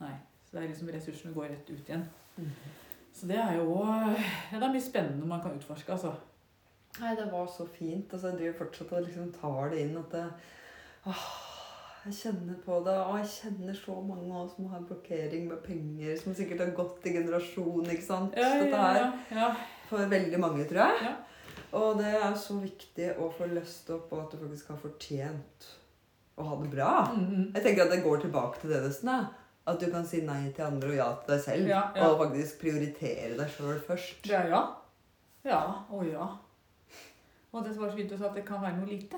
Nei. Så det er liksom ressursene går rett ut igjen. Mhm. Så det er jo ja, det er mye spennende man kan utforske, altså. Nei, det var så fint. Altså, jeg driver fortsatt og liksom tar det inn at det, åh, jeg kjenner på det. Og jeg kjenner så mange av oss som har blokkering med penger, som sikkert har gått i generasjon, ikke sant? Ja, Dette ja, her. ja, ja. For veldig mange, tror jeg. Ja. Og det er så viktig å få løst opp, og at du faktisk har fortjent og ha det bra. Mm, mm. Jeg tenker at det går tilbake til det nesten. da. At du kan si nei til andre og ja til deg selv. Ja, ja. Og faktisk prioritere deg sjøl først. Det er ja. Ja og ja. Og det var så fint du sa at det kan være noe lite.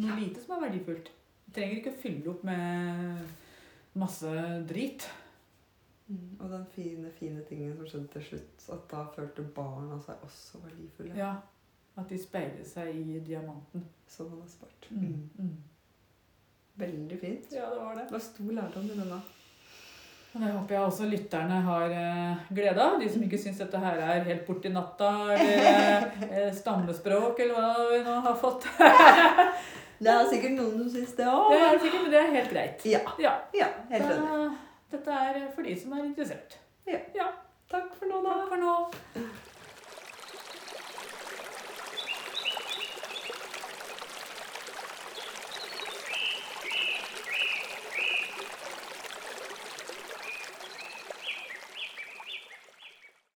Noe lite som er verdifullt. Du trenger ikke å fylle opp med masse drit. Mm, Og den fine, fine tingen som skjedde til slutt, at da følte barna seg også verdifulle. Ja. At de speiler seg i diamanten. Som han har spart. Mm. Mm. Veldig fint. Ja, det var det. Det var stor lærdom i denne. Og Det håper jeg også lytterne har eh, glede av. De som ikke syns dette her er helt borti natta, eller eh, stammespråk, eller hva vi nå har fått. Det er sikkert noen som syns det Det òg. er sikkert, men det er helt greit. Ja. Ja, ja. Helt enig. da, dette er for de som er interessert. Takk for nå, da. Takk for nå.